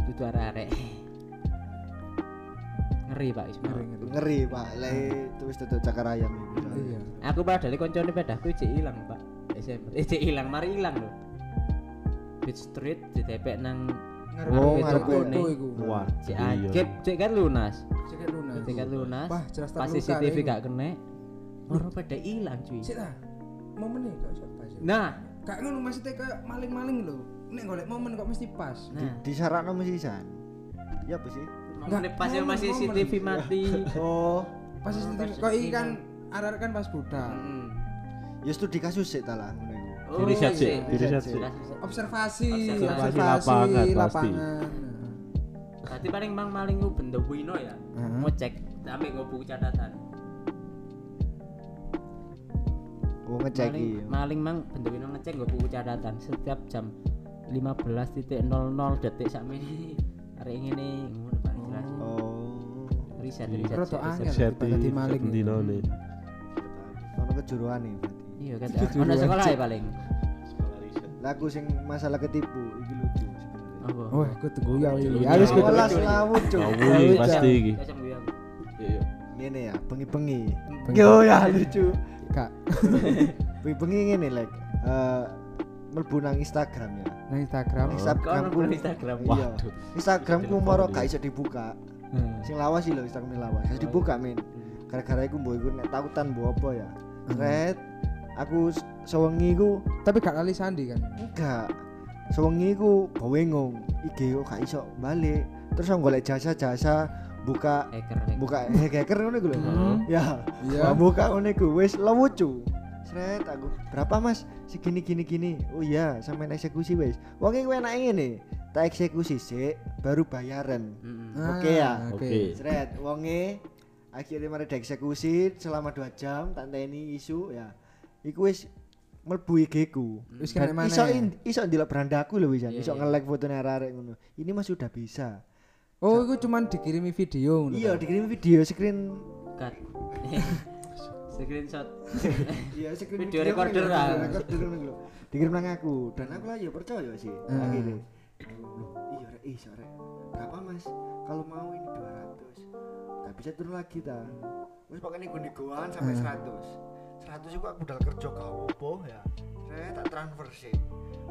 A: Dudu arek-arek. Ngeri Pak Ismail.
C: ngeri pak le terus tutup cakar ayam ini
B: iya
A: Aku padahal koncone pedahku cek ilang Pak. Desember. Eh cek ilang, mari ilang lho. Beach Street ditepek nang
B: ngarep
A: Oh,
B: itu
A: ngarep
B: foto
A: ini.
B: iku
D: wah
A: cek
D: iya.
A: ajib, cek kan lunas.
B: Ceket lunas
A: Cek kan lunas.
B: Wah, jelas
A: Pas
B: terluka
A: CCTV
B: nih.
A: gak kena. Ora pada ilang cuy.
B: Sik lah. Momen kok iso pas. ya?
A: Nah,
B: Gak ngono maksudnya kayak maling-maling lho. Nek golek momen kok mesti pas.
A: nah.
C: di sarana masih san ya apa sih
A: Nggak,
B: Nggak,
A: pas yang
B: momen,
A: masih
B: momen.
A: CCTV mati.
C: oh
B: Pas
A: Oh,
B: CCTV
A: pas
B: kok iki
A: ini.
B: kan arek kan pas budak.
A: Mm.
C: ya studi kasus sih talah ngono iku.
A: Oh,
D: Diri sehat sih,
A: iya.
D: diri sehat sih.
B: Observasi,
A: Observasi
D: lapangan, pasti.
B: lapangan.
A: Berarti paling mang maling ku benda wino ya.
B: Heeh.
A: Mau cek sampai nggo buku catatan.
C: oh ngecek
A: Maling,
B: iya.
C: iki
A: maling mang benda wino ngecek nggo buku catatan setiap jam 15.00 detik sak menit. Hari ini nih, ngono paling jelas.
C: oh
A: Riset,
D: Iya.
A: riset,
B: Roto
A: riset, riset.
B: angel daripada di maling.
D: dino nih
C: ono kejuruan nih berarti
A: Iya kan. Ono sekolah ya paling.
C: lagu sing masalah ketipu iki lucu sebenarnya
D: Ah,
A: Apa?
B: Wah, aku tunggu ya
D: Tunggu
B: ini.
D: ya.
B: Harus
D: Awal
B: kita
C: Welas lawut cuk.
D: Lawut,
C: Lawut,
D: pasti.
C: Cuk.
D: iki.
A: Ya, sam gue aku.
D: iya
C: Ngene ya, bengi-bengi. Yo ya lucu.
B: Kak,
C: Bengi-bengi ngene lek. Eh mlebu nang Instagram ya.
B: nang Instagram.
C: Instagramku.
A: Kau nang Instagram?
C: Iya.
D: Oh. Waduh.
C: Instagramku
D: Telepon
C: moro
D: dia.
C: gak iso dibuka.
A: Hmm.
C: Sing lawas sih lho Instagram lawas. Harus dibuka men.
D: Hmm.
C: Gara-gara iku mbok iku nek tautan mbok apa ya. Red aku s- sewengi iku
B: Tapi gak lali sandi kan.
C: enggak. Sewengi iku bawengong. IG kok gak iso balik. Terus aku golek jasa-jasa buka
A: Hacker, hacker.
C: buka hacker ngono iku lho.
A: Hmm.
C: Ya.
B: Iya.
C: Iya. buka ngono iku wis lucu. Sret aku. Berapa Mas? Segini gini gini. Oh iya, sampean eksekusi wis. Wong iki enake ngene. Tak eksekusi sik baru bayaran.
A: Mm-mm.
B: Ah,
C: Oke ya.
D: oke
C: Sret wonge akhirnya mari eksekusi selama 2 jam tak enteni isu ya. Iku wis mlebu IG ku.
B: Wis
C: Dan
B: kena mana?
C: iso in- iso ndelok brandaku lho wis
A: Iya,
C: iso
A: iya.
C: nge-like fotone arek ngono. Ini Mas sudah bisa.
B: Oh, itu cuman dikirimi video ngono.
C: Iya, dikirim video screen
A: Cut. Screenshot.
C: Iya, screen
A: Video recorder
C: kan,
A: lah.
C: video recorder ngono lho. Dikirim nang aku dan aku lah ya percaya sih.
B: Hmm.
C: Akhirnya. Loh, Iya, rek, iya, rek. Berapa, Mas? Kalau mau ini 200. Gak bisa turun lagi ta. Terus pakai nego-negoan sampai
A: Hmm.
C: 100. 100 itu aku udah kerja gak apa ya. Saya tak transfer sih.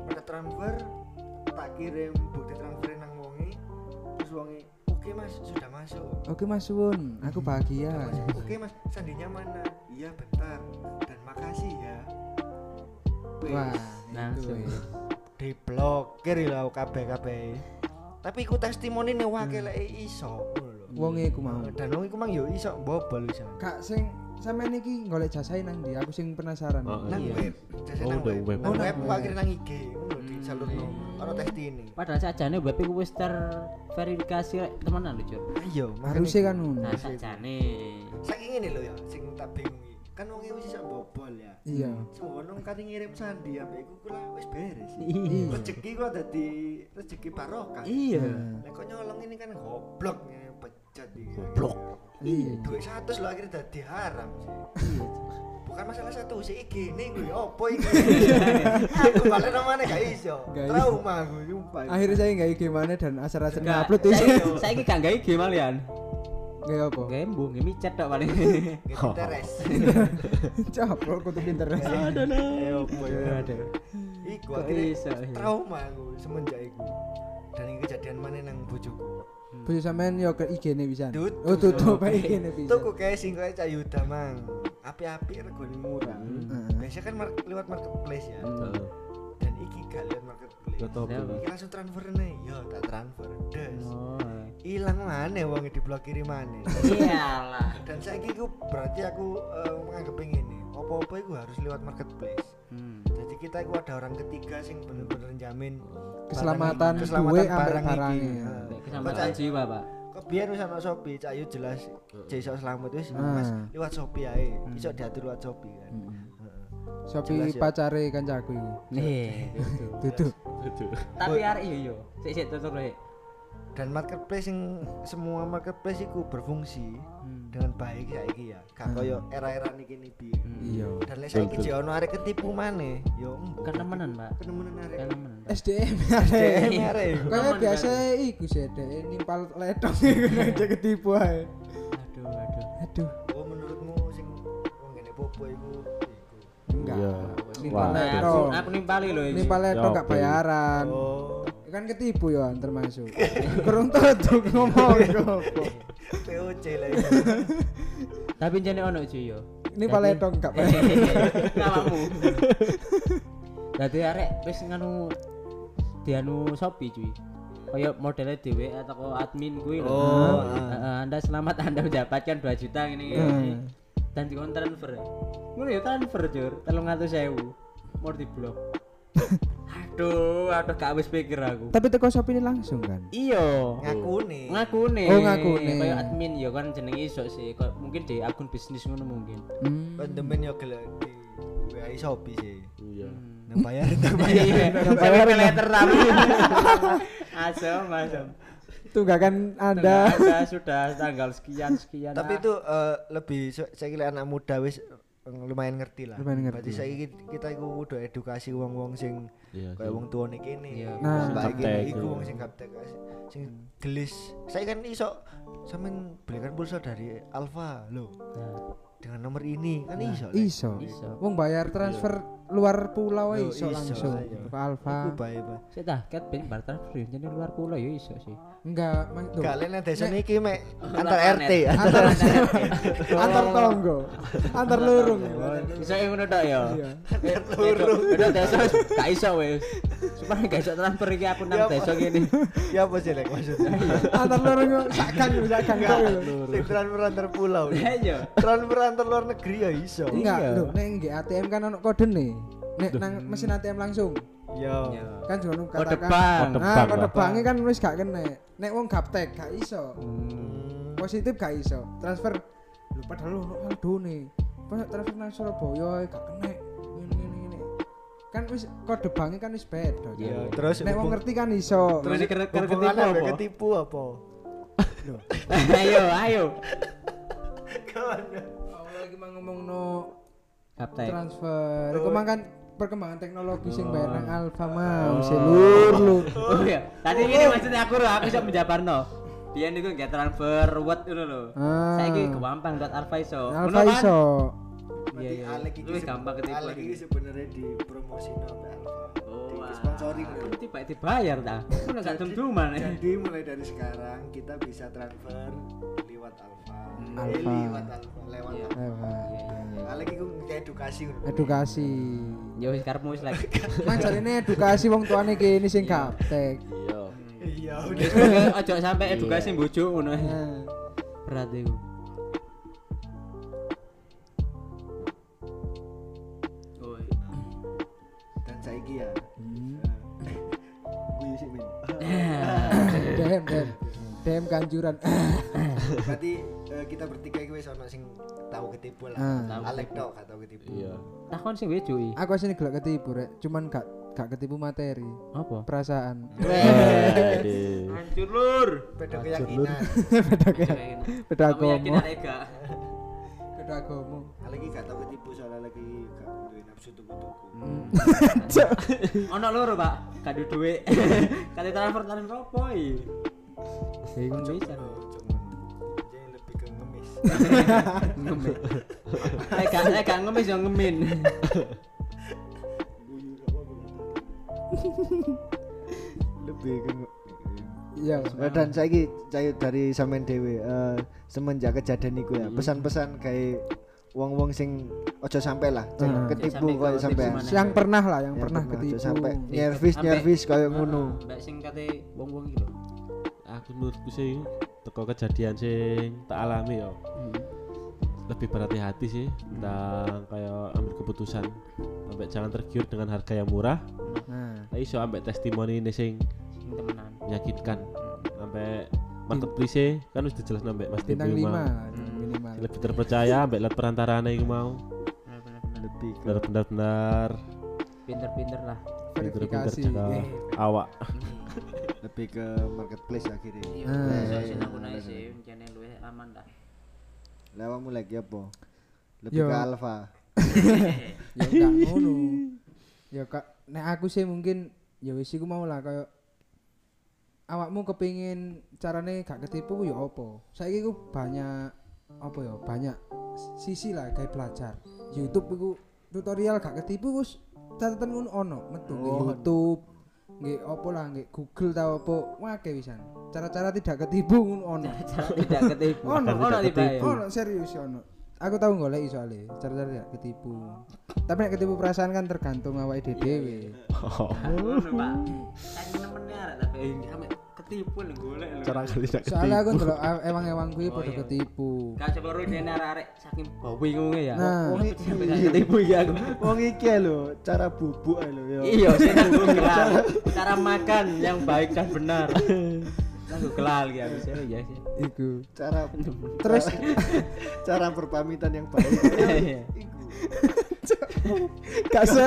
C: Udah transfer tak kirim bukti transferin nang wongi. Terus wongi, "Oke, Mas, sudah masuk."
B: Oke Mas Suwun, aku bahagia.
C: Mas, Oke mas, sandinya mana? Iya bentar Dan makasih ya
B: Wah, itu.
A: Langsung. ya.
C: Diblokir lah kabeh kabeh Tapi iku testimoni nih wakil
D: Hmm.
C: iso ngono lho.
B: Wong iku mau.
C: Dan wong iku mang yo iso bobol iso
D: Iya.
B: Kak sing sampean iki golek jasae nang ndi? Aku sing penasaran.
D: Oh,
C: Nang
A: Iya.
C: web, jasa
D: Oh,
C: nang
D: udah Hmm. web.
C: web Nang
B: Oh,
C: web
B: nang
C: kok akhirnya nang IG ngono di jalur no Ono testi ini
A: Padahal sajane web iku wis terverifikasi rek temenan lho, Cuk.
C: Ayo,
B: Harusnya kan ngono.
A: Nah, sajane.
C: Saking ini lho ya, sing tak bingungi Kan wong iku iso bobol ya
B: Iya.
C: Semono kate ngirim sandi ambek iku kula wis beres
A: Iya.
C: Rezeki kok dadi rezeki barokah
A: Iya.
C: Lah kok nyolong ini kan goblok ngene pecat iki.
D: Goblok.
B: Iya.
C: Duit 100 lho akhirnya dadi haram sih. Bukan masalah satu sih iki ini gue opo iki. Aku balik namanya gak iso.
B: Gak iso.
C: Trauma aku sumpah.
B: Akhirnya saya nggak gimana dan iya. asal-asal
A: Nggak,
B: ngupload
A: saiki-
B: itu.
A: Saiki gak gawe game malian.
B: Nggih apa?
A: Nggak embu, nggak micet tok paling.
C: gitu teres
B: Capek kudu pinter.
A: Eh opo ya ada. Kok
C: iku akhirnya
A: iso, iya.
C: trauma aku semenjak iku dan ini kejadian mana nang bojoku
B: Bojo sampean yo ke IG-ne pisan.
C: Dut-
B: Oh, tutup
A: Oke.
B: ae IG-ne pisan.
C: tuku kayak sing kayak cah Yuda mang api-api regone murah
B: Heeh.
C: biasanya kan mar- lewat marketplace ya
B: Hmm.
D: Heeh.
C: dan iki gak lewat marketplace
D: Lewat apa?
C: iki langsung transfer nih yo tak transfer des
A: Oh.
C: hilang mana wong diblokir mana
A: Iyalah.
C: dan saya iku berarti aku eh, menganggap ini apa-apa itu harus lewat marketplace
A: Hmm.
C: jadi kita itu ada orang ketiga sing bener-bener jamin
B: Keselamatan
C: barang-
B: duwe
C: keselamatan
B: ambek
C: barang iki
B: barangnya.
C: Heeh.
A: Keselamatan
C: Kok
A: jiwa, Pak.
C: kok biar wis ana Shopee cak Ayu jelas Jaiso selamat wis
B: Ah.
C: Mas lewat Shopee ae iso diatur lewat Shopee kan Heeh.
B: Sopi
C: Jelas ya.
B: pacare kancaku iku.
A: Nih.
B: Tutup.
D: Aduh.
A: gitu. Tapi arek yo yo. Sik sik tutur rek.
C: dan marketplace yang semua marketplace itu berfungsi dengan baik saiki ya gak koyo era-era niki niki
B: Iya.
C: dan lek saiki jek ono arek ketipu maneh ya embo
A: Kenemenan, Kan Pak. Kan
C: kenemenan arek
A: Kenemenan.
B: SDM
C: DM
B: arek.
C: arek iku.
B: Kaya
A: Temen,
B: biasa
C: kan?
B: iku sih dhek nimpal ledong iku nek aja ketipu ae.
A: Aduh, aduh.
B: Aduh,
C: oh menurutmu sing wong ngene popo iku iku
B: enggak.
D: Iya.
B: Nimpal
D: Wah.
A: Aku,
B: ledong.
A: Nah, aku nimpali lho ini.
B: Nimpal ledong gak
D: Oke.
B: bayaran.
C: oh
B: Kan ketipu yo termasuk. Kurang tutup ngomong iku apa.
C: POC lah iku.
A: Tapi jane ono cuy yo.
B: Nimpal
A: Tapi-
B: ledong gak bayaran.
A: Namamu. Dadi arek wis nganu dianu Shopee cuy. Kaya modelnya dhewe atau admin kuwi lho.
C: Oh,
A: Heeh,
B: ah.
A: Anda selamat Anda mendapatkan 2 juta ngene iki.
B: Hmm.
A: Dan dikon transfer. Ngono ya transfer jur, 300.000. Mau diblok. aduh, aduh gak wis pikir aku.
B: Tapi teko Shopee ini langsung kan.
A: Iya.
C: ngakune
A: ngakune
B: Oh, ngakune.
A: kaya admin ya kan jenenge iso sih kok mungkin di akun bisnis ngono mungkin
B: Hmm.
C: pendemen yo gelek di WA Shopee sih
D: Iya.
C: nang bayar nang bayar
A: iya bayar letter tapi asem asem
B: Tunggakan Anda.
A: Anda sudah tanggal sekian
B: Iya.
A: sekian
C: tapi itu eh, lebih se- saya kira anak muda wis eh, lumayan ngerti lah
B: Lumayan ngerti.
C: berarti saya ki- kita iku kudu edukasi wong-wong sing
D: Iya.
C: kayak wong tua nih kene
A: Iya.
B: Nah.
C: mbak
D: Gaptek.
C: iki iku wong sing gaptek as- sing gelis saya kan iso sampean belikan pulsa dari Alfa lo dengan nomor ini kan
B: Nah,
C: iso Le.
B: Iso.
A: Nah, Iso.
B: Wong bayar transfer luar pulau ae
C: Yo,
B: iso
C: iso,
B: langsung.
C: iya.
B: Ke Alfa.
C: iku bae Pak.
A: saya dah cat pin bar transfer jadi luar pulau ya iso sih
B: Enggak, Mas. Tuh.
C: Gak lain desa niki mek
A: Luar
C: antar
A: planet.
C: RT
A: antar planet.
B: Antar tonggo. Antar lurung.
A: Oh, iso yang ngono tok ya
B: Iya.
A: Antar lurung udah desa gak iso wis supaya gak iso transfer iki aku nang
C: Iya,
A: desa gini
C: ya apa sih Lek, maksudnya
B: Iya. Antar lurung yo sakang yo sakang kok yo.
C: Sing transfer antar pulau
A: iya
C: transfer antar luar negeri ya iso
B: Enggak, lho nek nggih ATM kan ono kodene. Nek nang mesin ATM langsung
C: ya
A: Iya.
B: kan juga nu
A: kode
B: katakan.
A: bank
D: Kode
B: Nah,
D: bank
B: kode
D: lah.
B: bank kan wis gak kena. Nek wong gaptek gak iso.
D: Hmm.
B: Positif gak iso. Transfer lho padahal lu ono aldone. Pas transfer nang Surabaya eh, gak kena. Ngene ngene ngene. Kan wis kode bank kan wis beda.
C: ya terus
B: Nek wong
C: hubung-
B: ngerti kan iso.
A: Terus ini kena- kena
C: hubungannya
A: ketipu
C: ambek
A: apa?
C: ketipu apa?
A: ayo ayo
B: Awal lagi mau ngomong no
A: kapten
B: transfer. Kok kan perkembangan teknologi sing bayar
D: Oh.
B: nang Alfa mau selur lu.
A: Oh iya, tadi ini maksudnya aku loh, aku bisa menjabar no. Dia niku nggak transfer what dulu lo.
B: Ah.
A: Saya ini gampang dot alfa iso.
B: Alfa iso.
A: Iya iya. Lu wis kan? gampang ketipu.
C: Alek
A: lagi.
C: iki sebenarnya di promosi Alfa.
A: Oh,
C: Di
A: ah.
C: sponsoring lho.
A: Tiba dibayar ta. Aku nggak dum-duman. eh.
C: Jadi mulai dari sekarang kita bisa transfer lewat Alfa.
A: Hmm.
C: Eh,
B: Alfa.
C: lewat Alfa, lewat.
A: Iya.
B: Alfa.
C: Alek iku edukasi ngono.
B: Edukasi.
A: Ya wis karepmu wis lagi.
B: Mang jarine edukasi wong tuane kene sing gaptek.
D: Iya.
A: Hmm.
C: Iya, udah.
A: Wis pokoknya ojo sampe edukasi bojo ngono.
B: Nah,
A: Iya. Berat iku. Oh,
C: Dan saiki ya.
A: Hmm.
C: eh, Guyu sih men.
B: DM DM. DM kanjuran.
C: Berarti eh, kita bertiga iki wis ono sing tahu ketipu lah.
B: Ah.
A: Tahu
C: Alek tok gak tahu ketipu.
D: Iya.
A: takon sing wejo iki.
B: Aku sini gelek ketipu rek, cuman gak gak ketipu materi,
A: Apa?
B: perasaan.
D: Aduh.
A: Hancur lur.
C: Beda keyakinan.
B: Beda kayak beda
A: Aku yakin
B: agama.
A: ada enggak.
B: Beda agama.
C: Alek iki gak tahu ketipu soalnya lagi gak duwe nafsu tuku-tuku.
A: ono loro pak kado duit
C: Nah,
A: kado transfer transfer apa iki?
C: Hmm. Jangan lebih ke
A: Ngemis. Eh gak eh gak ngemis yo ngemin.
C: Guyu gak apa-apa. Lebih ke
B: Iya.
C: Eh, dan saya saya dari sampean dhewe eh, semenjak kejadian niku ya pesan-pesan kayak wong-wong sing ojo sampai lah jangan
B: Hmm.
A: Jangan sampai
C: ketipu kayak
A: ketipu
C: sampean
A: mana.
B: Yang pernah lah, yang
C: Ya,
B: pernah
C: ojo
B: ketipu. Nah,
C: sampai nyervis nyervis kayak ngono
A: Eh, Mbak sing kate wong-wong iki lho.
D: aku menurutku sih teko kejadian sing tak alami ya lebih berhati-hati sih tentang kayak ambil keputusan sampai jangan tergiur dengan harga yang murah
B: Nah,
D: tapi iso sampai testimoni ini sing
A: Sing temenan.
D: meyakinkan sampai marketplace kan harus dijelas sampai mas
B: bintang
D: Dewi
B: lima Hmm.
D: mau.
B: minimal.
D: lebih terpercaya sampai lihat perantaraan yang mau
A: Bener-bener
C: lebih ke
D: benar-benar
A: pinter-pinter lah.
D: pinter-pinter
B: Verifikasi.
D: jaga
B: Eh,
D: awak
C: lebih ke marketplace akhirnya
A: Iya,
B: Ah,
A: iso
C: iya,
A: sing
C: iya,
A: aku naik
C: bener-bener.
A: sih, jane luwih aman lah.
C: lawamu lagi apa lebih
B: Yo.
C: ke alfa
B: Ya enggak ngono. Ya kak, nek aku sih mungkin ya wis iku mau lah kayak awakmu kepingin carane gak ketipu ku ya apa? Saiki ku banyak apa ya? Banyak sisi lah kayak belajar. YouTube iku tutorial gak ketipu wis catatan ngono ono metu nggih
C: Oh.
B: YouTube nggih apa lah nggih Google tau apa wae wisan. Cara-cara tidak ketipu ngono ono.
A: Cara tidak ketipu.
B: Ono,
A: Ono tiba
D: tidak
A: ya.
D: ketipu.
B: Ono Oh, serius ono. Aku tahu golek soalnya, cara-cara tidak ketipu. Tapi nek ketipu perasaan kan tergantung awake dhewe dhewe.
A: Ngono, Pak. Kan nemene arek tapi eh, sampe ketipu lho golek lho.
D: cara kali tidak
B: Soalnya aku
D: ketipu
B: ndelok a- ewang-ewang
A: Oh,
B: kuwi padha ketipu.
A: Gak coba roh dene arek-arek saking bawi ngono ya.
B: Nah.
A: Wong iki sampe gak ketipu iki aku.
C: wong iki lho cara bubuk lho yo
A: Iya, saya nanggu kelal. Cara makan yang baik dan benar. Nanggu kelal ya bisa ya sih.
B: Iku.
C: cara
B: Terus
C: cara berpamitan yang baik Iku.
B: kase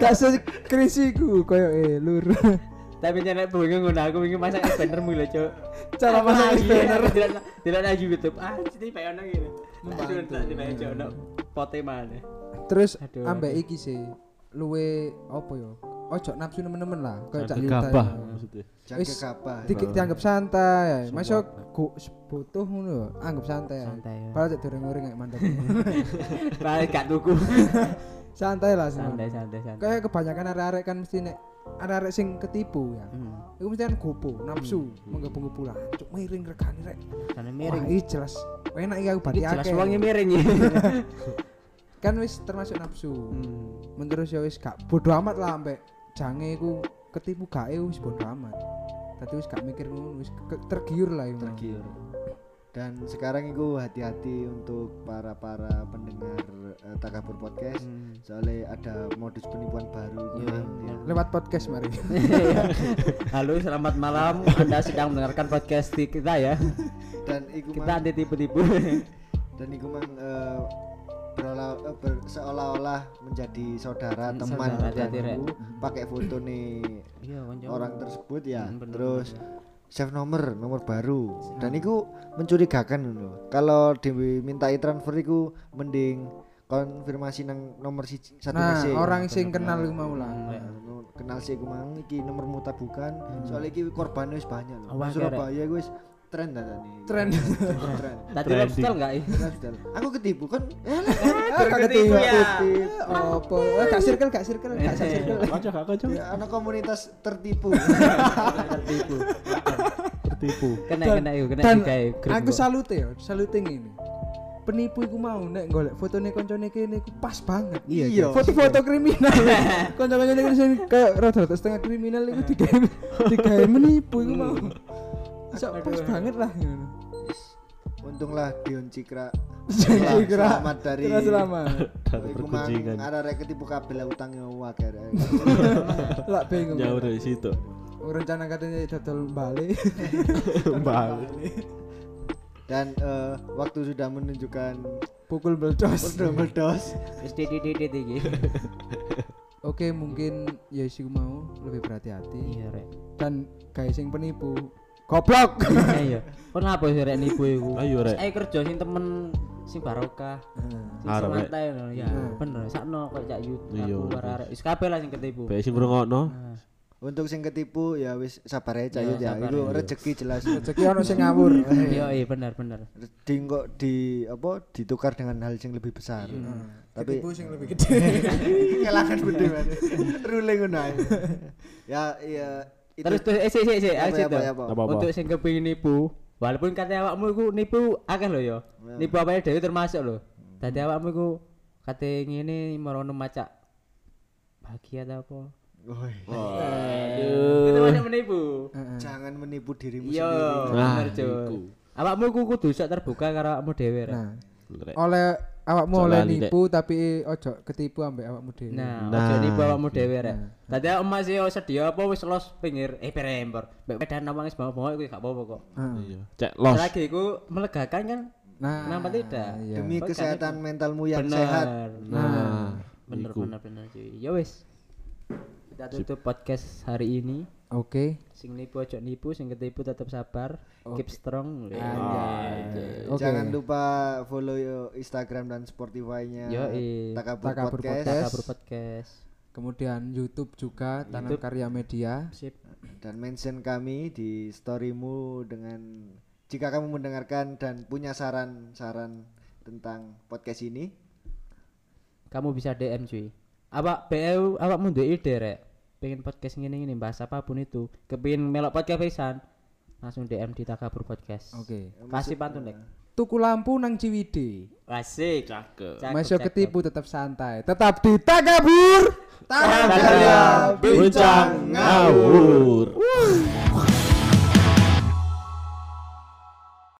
B: kase krisiku koyo eh lur.
A: Tapi jangan bingung ngono aku ingin masak es banner mulu, Cuk.
B: Cara
A: Aku
B: masak es
A: lagi,
B: banner.
A: aku Tidak tidak lagi YouTube. Ah, sini bae ono gitu. Langsung tak tidak aja ono pote mana.
B: Terus
A: Aduh,
B: ambek iki sih luwe apa ya? Ojo nafsu nemen-nemen lah, koyo cak
D: Jangan
B: Yuta ya.
D: gegabah
B: itu.
D: maksudnya
C: jangan
B: Wis,
C: kekapa
B: Dikit dianggap santai. Masuk go butuh ngono ya, anggap santai.
A: Santai, ya.
B: Padahal cek durung-urung kayak mandek.
A: Balik gak tuku.
B: santai lah semua.
A: Santai santai santai.
B: Kayak kebanyakan arek-arek kan mesti nek arek-arek sing ketipu ya.
A: Hmm.
B: Iku mesti kan gopo, nafsu, menggebu-gebu lah. Cuk miring regane rek.
A: Sana miring.
B: Miring iki jelas. Enak iki aku
A: Ini
B: bati
A: jelas
B: akeh.
A: uangnya miring ya.
B: Kan wis termasuk nafsu. Menurut ya wis gak bodo amat lah ambek jange iku ketipu gae wis bodo amat. Tadi wis gak mikir ngono, wis ke- tergiur lah iku.
C: tergiur dan sekarang itu hati-hati untuk para para pendengar eh, takabur podcast
B: Hmm.
C: soalnya ada modus penipuan baru iku
B: Iya.
C: mang, ya.
B: Lewat podcast mari.
A: Halo, selamat malam. Anda sedang mendengarkan podcast di kita ya.
C: dan iku
A: Kita
C: mang,
A: anti tipu-tipu.
C: dan iku mang eh, berolah- eh, ber- seolah-olah menjadi saudara teman
A: saudara, hati-hati, Rek.
C: temanku pakai foto nih
A: Iya, konco.
C: orang tersebut ya
A: Hmm, bener,
C: terus save nomor nomor baru dan itu mencurigakan loh kalau dimintai transfer itu mending konfirmasi nang nomor siji- satu
B: Nah,
C: mesej.
B: orang sing kenal iku mau lah.
C: Nah, nu- kenal sih gue mang iki nomor muta bukan soalnya iki korbannya wis banyak loh
A: Hmm. Awake,
C: Surabaya gue wis tren dah tadi
B: Tren.
C: tren
A: Tadi lifestyle enggak? ih?
C: Lifestyle. aku ketipu kan eh lah,
B: Ah, Gak ketipu. Opo? Eh, Gak circle, gak circle, gak circle.
D: kocok gak kocok
B: Iya.
C: ya, anak komunitas tertipu
A: Tertipu.
D: tertipu
A: Kena
B: Dan-
A: kena yuk, kena eh,
B: dan
A: juga yuk.
B: aku salute ya salute ini penipu iku mau nek golek fotone koncone kene iku pas banget
C: Iya, iya.
B: foto-foto kriminal koncone kene sing kayak rada-rada setengah kriminal iku digawe digawe menipu iku mau iso pas banget lah ngono
C: untunglah Dion Cikra
B: Dion Cikra.
C: selamat dari
B: Kira selama
D: dari
C: Iku mang
D: perguncingan
C: ada rek ketipu kabel utangnya wakar
B: lak bingung
D: jauh dari situ
B: rencana katanya dodol balik
D: balik
C: dan eh, waktu sudah menunjukkan
B: pukul belcos
C: double dos
A: Terus di di di di di.
B: oke mungkin ya sih mau lebih berhati-hati
A: Iya, Rek.
B: dan guys sing penipu goblok
A: Iya. Kon apa sih Rek nipu iku?
D: ayo rek
A: Ayo kerja sing temen sing barokah. Sing
D: Arep, Rek. Hmm.
A: santai lho. Ya, bener. Sakno kok cak yut.
D: Iya,
A: Aku
D: bener.
A: arek. Wis kabeh lah sing ketipu.
D: Baik sing ngrungokno.
C: Untuk sing ketipu ya wis sabar ae cah ya.
A: Ya, sabar
C: Iku rezeki jelas.
B: Rezeki ono sing ngawur.
A: Iya, iya benar benar.
C: Di kok di apa ditukar dengan hal yang lebih besar. Hmm. Tapi
B: Ibu sing lebih gede.
C: kelakan gede banget. Ruling ngono ae. Ya ya itu
A: Terus terus eh sik sik sik,
C: Apa,
A: ayo, sik,
C: apa,
A: toh.
C: apa?
D: Apa-apa?
A: Untuk sing kepengin nipu, walaupun katanya awakmu iku nipu akeh lho ya. Nipu apa dhewe termasuk lho. Dadi awakmu iku kate ngene merono macak bahagia ta apa?
C: Woi,
A: Itu banyak menipu.
C: jangan menipu dirimu
A: Iya,
C: sendiri.
A: bener
D: Nah, iku.
A: Cuk. Awakmu iku kudu sok terbuka karo awakmu dhewe Rek.
B: Nah,
D: Lek.
B: oleh awakmu
D: Ojo
B: oleh
D: lali, Dek.
B: nipu tapi ojo ketipu ambek awakmu dhewe.
A: Nah,
D: Nah,
A: ojo nipu awakmu dhewe rek.
C: Nah.
A: Dadi awakmu masih sedia apa wis los pinggir eh perempor. Mbek pedan nawang wis bawa-bawa iku gak apa-apa kok.
D: Iya. Cek los.
A: Lagi iku melegakan kan.
B: Nah,
A: Kenapa tidak?
B: Iya.
C: Demi
A: Kan
C: kesehatan mentalmu yang
A: bener.
C: sehat.
D: Nah,
A: Bener
D: iku.
A: bener bener cuy. Ya wis. Kita tutup podcast hari ini.
B: Oke.
A: Sing nipu ojo nipu, sing ketipu tetap sabar. Keep strong. Anjay.
B: Oke.
C: Jangan lupa follow yo Instagram dan Spotify-nya
A: Yoi.
C: Takabur,
B: Takabur
C: Podcast,
B: Podcast.
A: iya. Kabur podcast.
B: Kemudian YouTube juga Tanam Karya Media.
A: Sip.
C: dan mention kami di storymu dengan jika kamu mendengarkan dan punya saran-saran tentang podcast ini.
A: kamu bisa DM cuy apa BU awakmu duwe ide rek pengen podcast ngene ngene bahas apapun itu kepingin melok podcast pisan langsung DM di Takabur Podcast
B: Oke.
A: kasih pantun dek
B: Tuku lampu nang Ciwidey.
A: asik
D: Cakep.
A: Cakep,
B: Masuk
A: cakep.
B: ketipu tetap santai. Tetap di Takabur.
A: Tanam Karya
D: Bincang ngawur.